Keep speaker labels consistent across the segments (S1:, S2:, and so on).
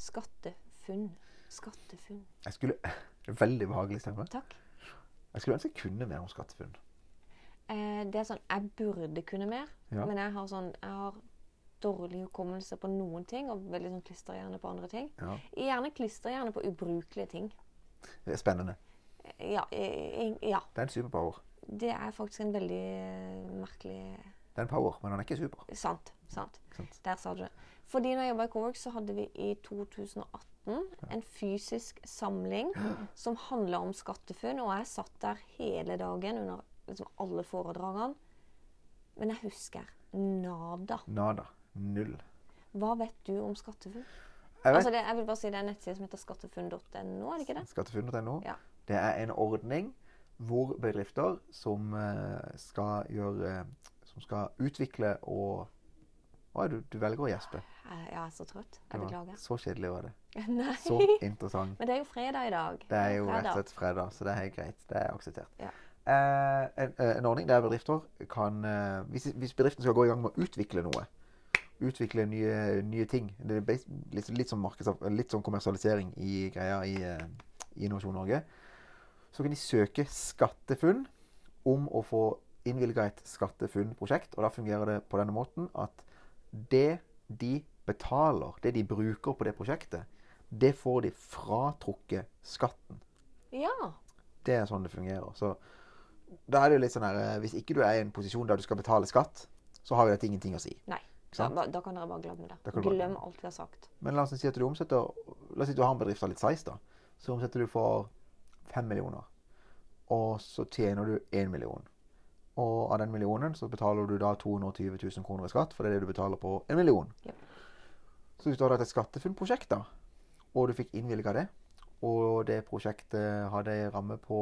S1: Skattefunn. Skattefunn.
S2: Jeg skulle, veldig behagelig stemme.
S1: Takk.
S2: Jeg skulle ønske jeg kunne mer om SkatteFUNN.
S1: Eh, det er sånn, Jeg burde kunne mer,
S2: Ja.
S1: men jeg har sånn, jeg har dårlig hukommelse på noen ting og veldig sånn klisterhjerne på andre ting.
S2: Ja.
S1: Gjerne klisterhjerne på ubrukelige ting.
S2: Det er spennende.
S1: Eh, Ja, eh, eh, ja.
S2: Det er en superpower.
S1: Det er faktisk en veldig eh, merkelig
S2: Det er en power, men den er ikke super.
S1: Sant. sant.
S2: Sant.
S1: Der sa du det. Fordi når jeg jobba i Cowork, så hadde vi i 2018 en fysisk samling som handla om SkatteFUNN, og jeg satt der hele dagen under liksom alle foredragene. Men jeg husker nada.
S2: Nada. Null.
S1: Hva vet du om SkatteFUNN?
S2: Jeg vet
S1: Altså det, jeg vil bare si det er en nettside som heter skattefund.no, er det ikke det?
S2: SkatteFUNN.no.
S1: Ja.
S2: Det er en ordning hvor bedrifter som eh, skal gjøre eh, Som skal utvikle og Å, du, du velger å gjespe.
S1: Jeg, jeg er så trøtt.
S2: Det
S1: Jeg
S2: var
S1: beklager.
S2: Så kjedelig var det.
S1: Nei.
S2: Så interessant.
S1: Men det er jo fredag i dag.
S2: Det er jo rett og
S1: Fredag.
S2: slett fredag, så det er helt greit. Det er akseptert.
S1: Ja.
S2: Eh, en, en ordning der bedrifter kan eh, hvis, hvis bedriften skal gå i gang med å utvikle noe, utvikle nye, nye ting det er bas- litt, litt, som markeds- litt som kommersialisering i greia i, eh, i Innovasjon Norge. Så kan de søke SkatteFUNN om å få innvilga et SkatteFUNN-prosjekt. Og da fungerer det på denne måten at det de betaler, det de bruker på det prosjektet, det får de fratrukket skatten.
S1: Ja.
S2: Det er sånn det fungerer. Så da er det jo litt sånn her eh, Hvis ikke du er i en posisjon der du skal betale skatt, så har jo dette ingenting å si.
S1: Nei. Da,
S2: Sant?
S1: da kan dere bare glemme det.
S2: Da kan du bare
S1: Glem alt vi har sagt.
S2: Men la oss si at du omsetter La oss si at du har en bedrift av litt size, da. Så omsetter du for fem millioner. Og så tjener du én million. Og av den millionen så betaler du da 220 000 kroner i skatt, for det er det du betaler på en million.
S1: Jep.
S2: Så hvis du hadde hatt et SkatteFUNN-prosjekt, da, og du fikk innvilga det, og det prosjektet hadde en ramme på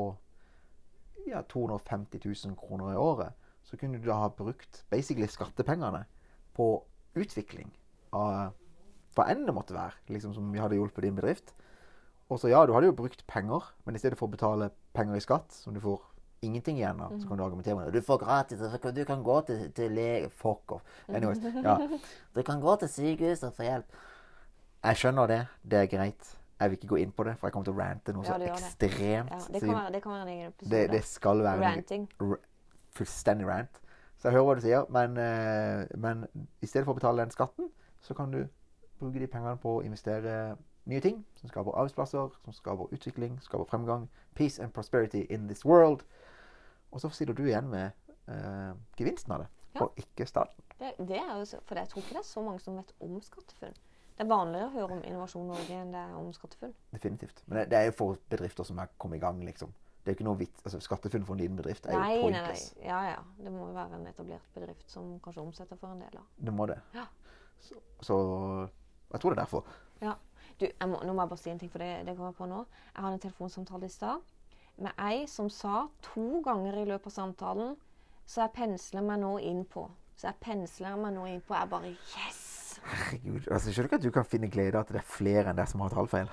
S2: ja, 250 000 kroner i året, så kunne du da ha brukt basically skattepengene på utvikling av hva enn det måtte være, liksom som vi hadde hjulpet din bedrift. Og så ja, du hadde jo brukt penger, men i stedet for å betale penger i skatt, som du får ingenting igjen av, så kan du argumentere med det. Du får gratis, og så kan- du kan gå til, til lege Fuck off. Anyways, ja. Du kan gå til sykehuset og få hjelp. Jeg skjønner det. Det er greit. Jeg vil ikke gå inn på det, for jeg kommer til å rante noe
S1: Ja,
S2: så
S1: du gjør det.
S2: ekstremt.
S1: Ja, det,
S2: så
S1: kan
S2: vi-
S1: være, det kan være en egen episode.
S2: det, det skal være noe-
S1: Ranting.
S2: r fullstendig rant. Så jeg hører hva du sier, men, eh, men i stedet for å betale den skatten, så kan du bruke de pengene på å investere nye ting som skaper arbeidsplasser, som skaper utvikling, skaper fremgang. Peace and prosperity in this world. Og så sitter du igjen med eh, gevinsten av det,
S1: Ja.
S2: og ikke staten.
S1: Det, det er jo, så- for jeg tror ikke det er så mange som vet om SkatteFUNN. Det er vanligere å høre om Innovasjon Norge enn det er om SkatteFUNN.
S2: Definitivt. Men det, det er jo for bedrifter som har kommet i gang, liksom. Det er jo ikke noe vits. Altså, SkatteFUNN for en liten bedrift er jo
S1: Nei, nei, nei.
S2: pointless.
S1: Ja, ja. Det må jo være en etablert bedrift som kanskje omsetter for en del. Da.
S2: Det må det.
S1: Ja.
S2: Så, så jeg tror det er derfor.
S1: Ja. Du, jeg må, nå må jeg bare si en ting, for det, det kommer jeg på nå. Jeg hadde en telefonsamtale i stad med ei som sa to ganger i løpet av samtalen Så jeg pensler meg nå inn på. Så jeg pensler meg nå inn på. Jeg bare Yes!
S2: Herregud, altså, skjønner du ikke at du kan finne glede av at det er flere enn deg som har tallfeil?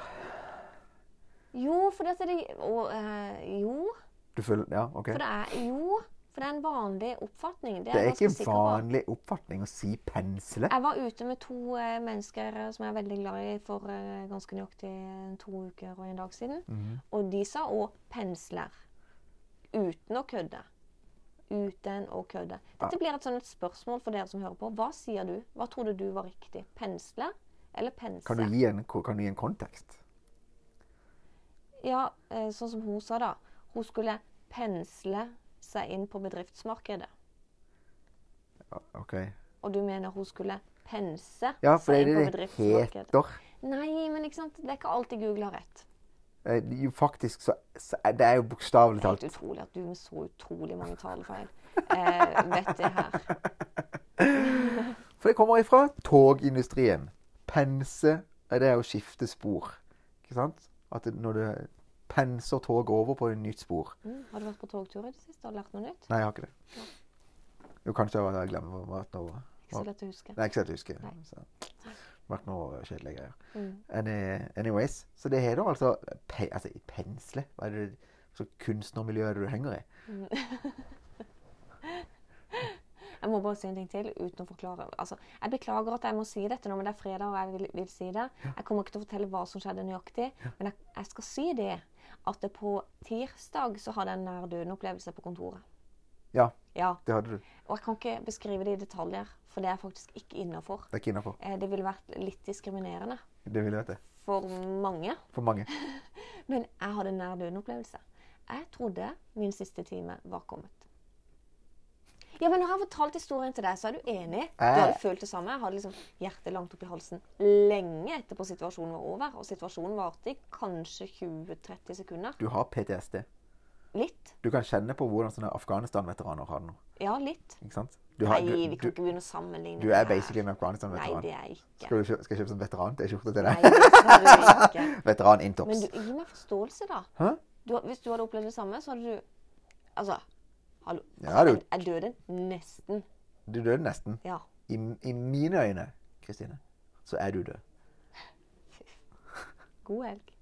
S1: Jo, fordi at det og, eh, Jo.
S2: Du føler, ja, ok.
S1: For det er jo For det er en vanlig oppfatning. Det er,
S2: Det er
S1: jeg
S2: ikke
S1: ganske
S2: en
S1: sikker på.
S2: vanlig oppfatning å si pensle.
S1: Jeg var ute med to eh, mennesker eh, som jeg er veldig glad i, for eh, ganske nøyaktig eh, to uker og en dag siden.
S2: Mhm.
S1: Og de sa òg 'pensler'. Uten å kødde. Uten å kødde. Dette blir et sånn et spørsmål for dere som hører på. Hva sier du? Hva trodde du var riktig? Pensler eller pensler?
S2: Kan du gi en, kan du gi en kontekst?
S1: Ja, eh, sånn som hun sa da. Hun skulle pensle seg inn på bedriftsmarkedet.
S2: Ja, Ok.
S1: Og du mener hun skulle pense
S2: Ja, for
S1: seg
S2: det
S1: inn
S2: er
S1: på
S2: det det
S1: bedriftsmarkedet?
S2: heter.
S1: Nei, men ikke sant? det er ikke alltid Google har rett.
S2: Eh, Jo, faktisk, så, så er- det er jo bokstavelig
S1: Helt
S2: talt.
S1: utrolig at du med så utrolig mange talefeil eh, vet det her.
S2: For det kommer ifra togindustrien. Pense, eh, det er å skifte spor. Ikke sant? At det- når du penser tog over på et nytt spor.
S1: Mm. Har du vært på togtur i det siste og lært noe nytt?
S2: Nei, jeg har ikke det. Jo, kanskje jeg var- jeg glemmer hva det var.
S1: Ikke så lett å huske.
S2: Nei, ikke så lett å huske.
S1: Nei.
S2: Så. Det vært noe kjedelige greier.
S1: Mm.
S2: Any- Anyways, så det heter altså, pe altså i pensle. Hva er det altså, så kunstnermiljøet du henger i?
S1: Jeg må bare si en ting til uten å forklare. Altså, jeg beklager at jeg må si dette nå, men det er fredag og jeg vil, vil si det. Jeg kommer ikke til å fortelle hva som skjedde nøyaktig, men jeg, jeg skal si det at det på tirsdag så hadde jeg en nær døden-opplevelse på kontoret.
S2: Ja,
S1: Ja,
S2: det hadde du.
S1: Og jeg kan ikke beskrive det i detaljer, for det er faktisk ikke innafor. Eh,
S2: Det er ikke innafor.
S1: Det ville vært litt diskriminerende
S2: Det ville vært det.
S1: for mange.
S2: For mange.
S1: Men jeg hadde en nær døden-opplevelse. Jeg trodde min siste time var kommet. Ja, men Når jeg har fortalt historien til deg, så er du enig. Du
S2: Jeg-
S1: hadde følt det samme. Jeg hadde liksom hjertet langt opp i halsen lenge etterpå situasjonen var over. Og situasjonen varte i kanskje 20-30 sekunder.
S2: Du har PTSD.
S1: Litt.
S2: Du kan kjenne på hvordan sånne Afghanistan-veteraner har det nå.
S1: Ja, litt.
S2: Ikke sant? Du, har,
S1: Nei, vi
S2: du,
S1: kan ikke begynne å sammenligne.
S2: du, du er
S1: det her.
S2: basically en
S1: Nei,
S2: Afghanistan-veteran.
S1: det er jeg ikke.
S2: Skal, du kjø- skal jeg kjøpe sånn veteran til skjorte til
S1: Nei,
S2: deg?
S1: det skal du ikke.
S2: Veteran
S1: Men
S2: intops.
S1: du, gi meg forståelse, da.
S2: Hæ?
S1: Du, hvis du hadde opplevd det samme, så hadde du Altså, hallo.
S2: Ja, du-
S1: Jeg, jeg døde nesten.
S2: Du døde nesten.
S1: Ja.
S2: I, I mine øyne, Kristine, så er du død.
S1: God helg.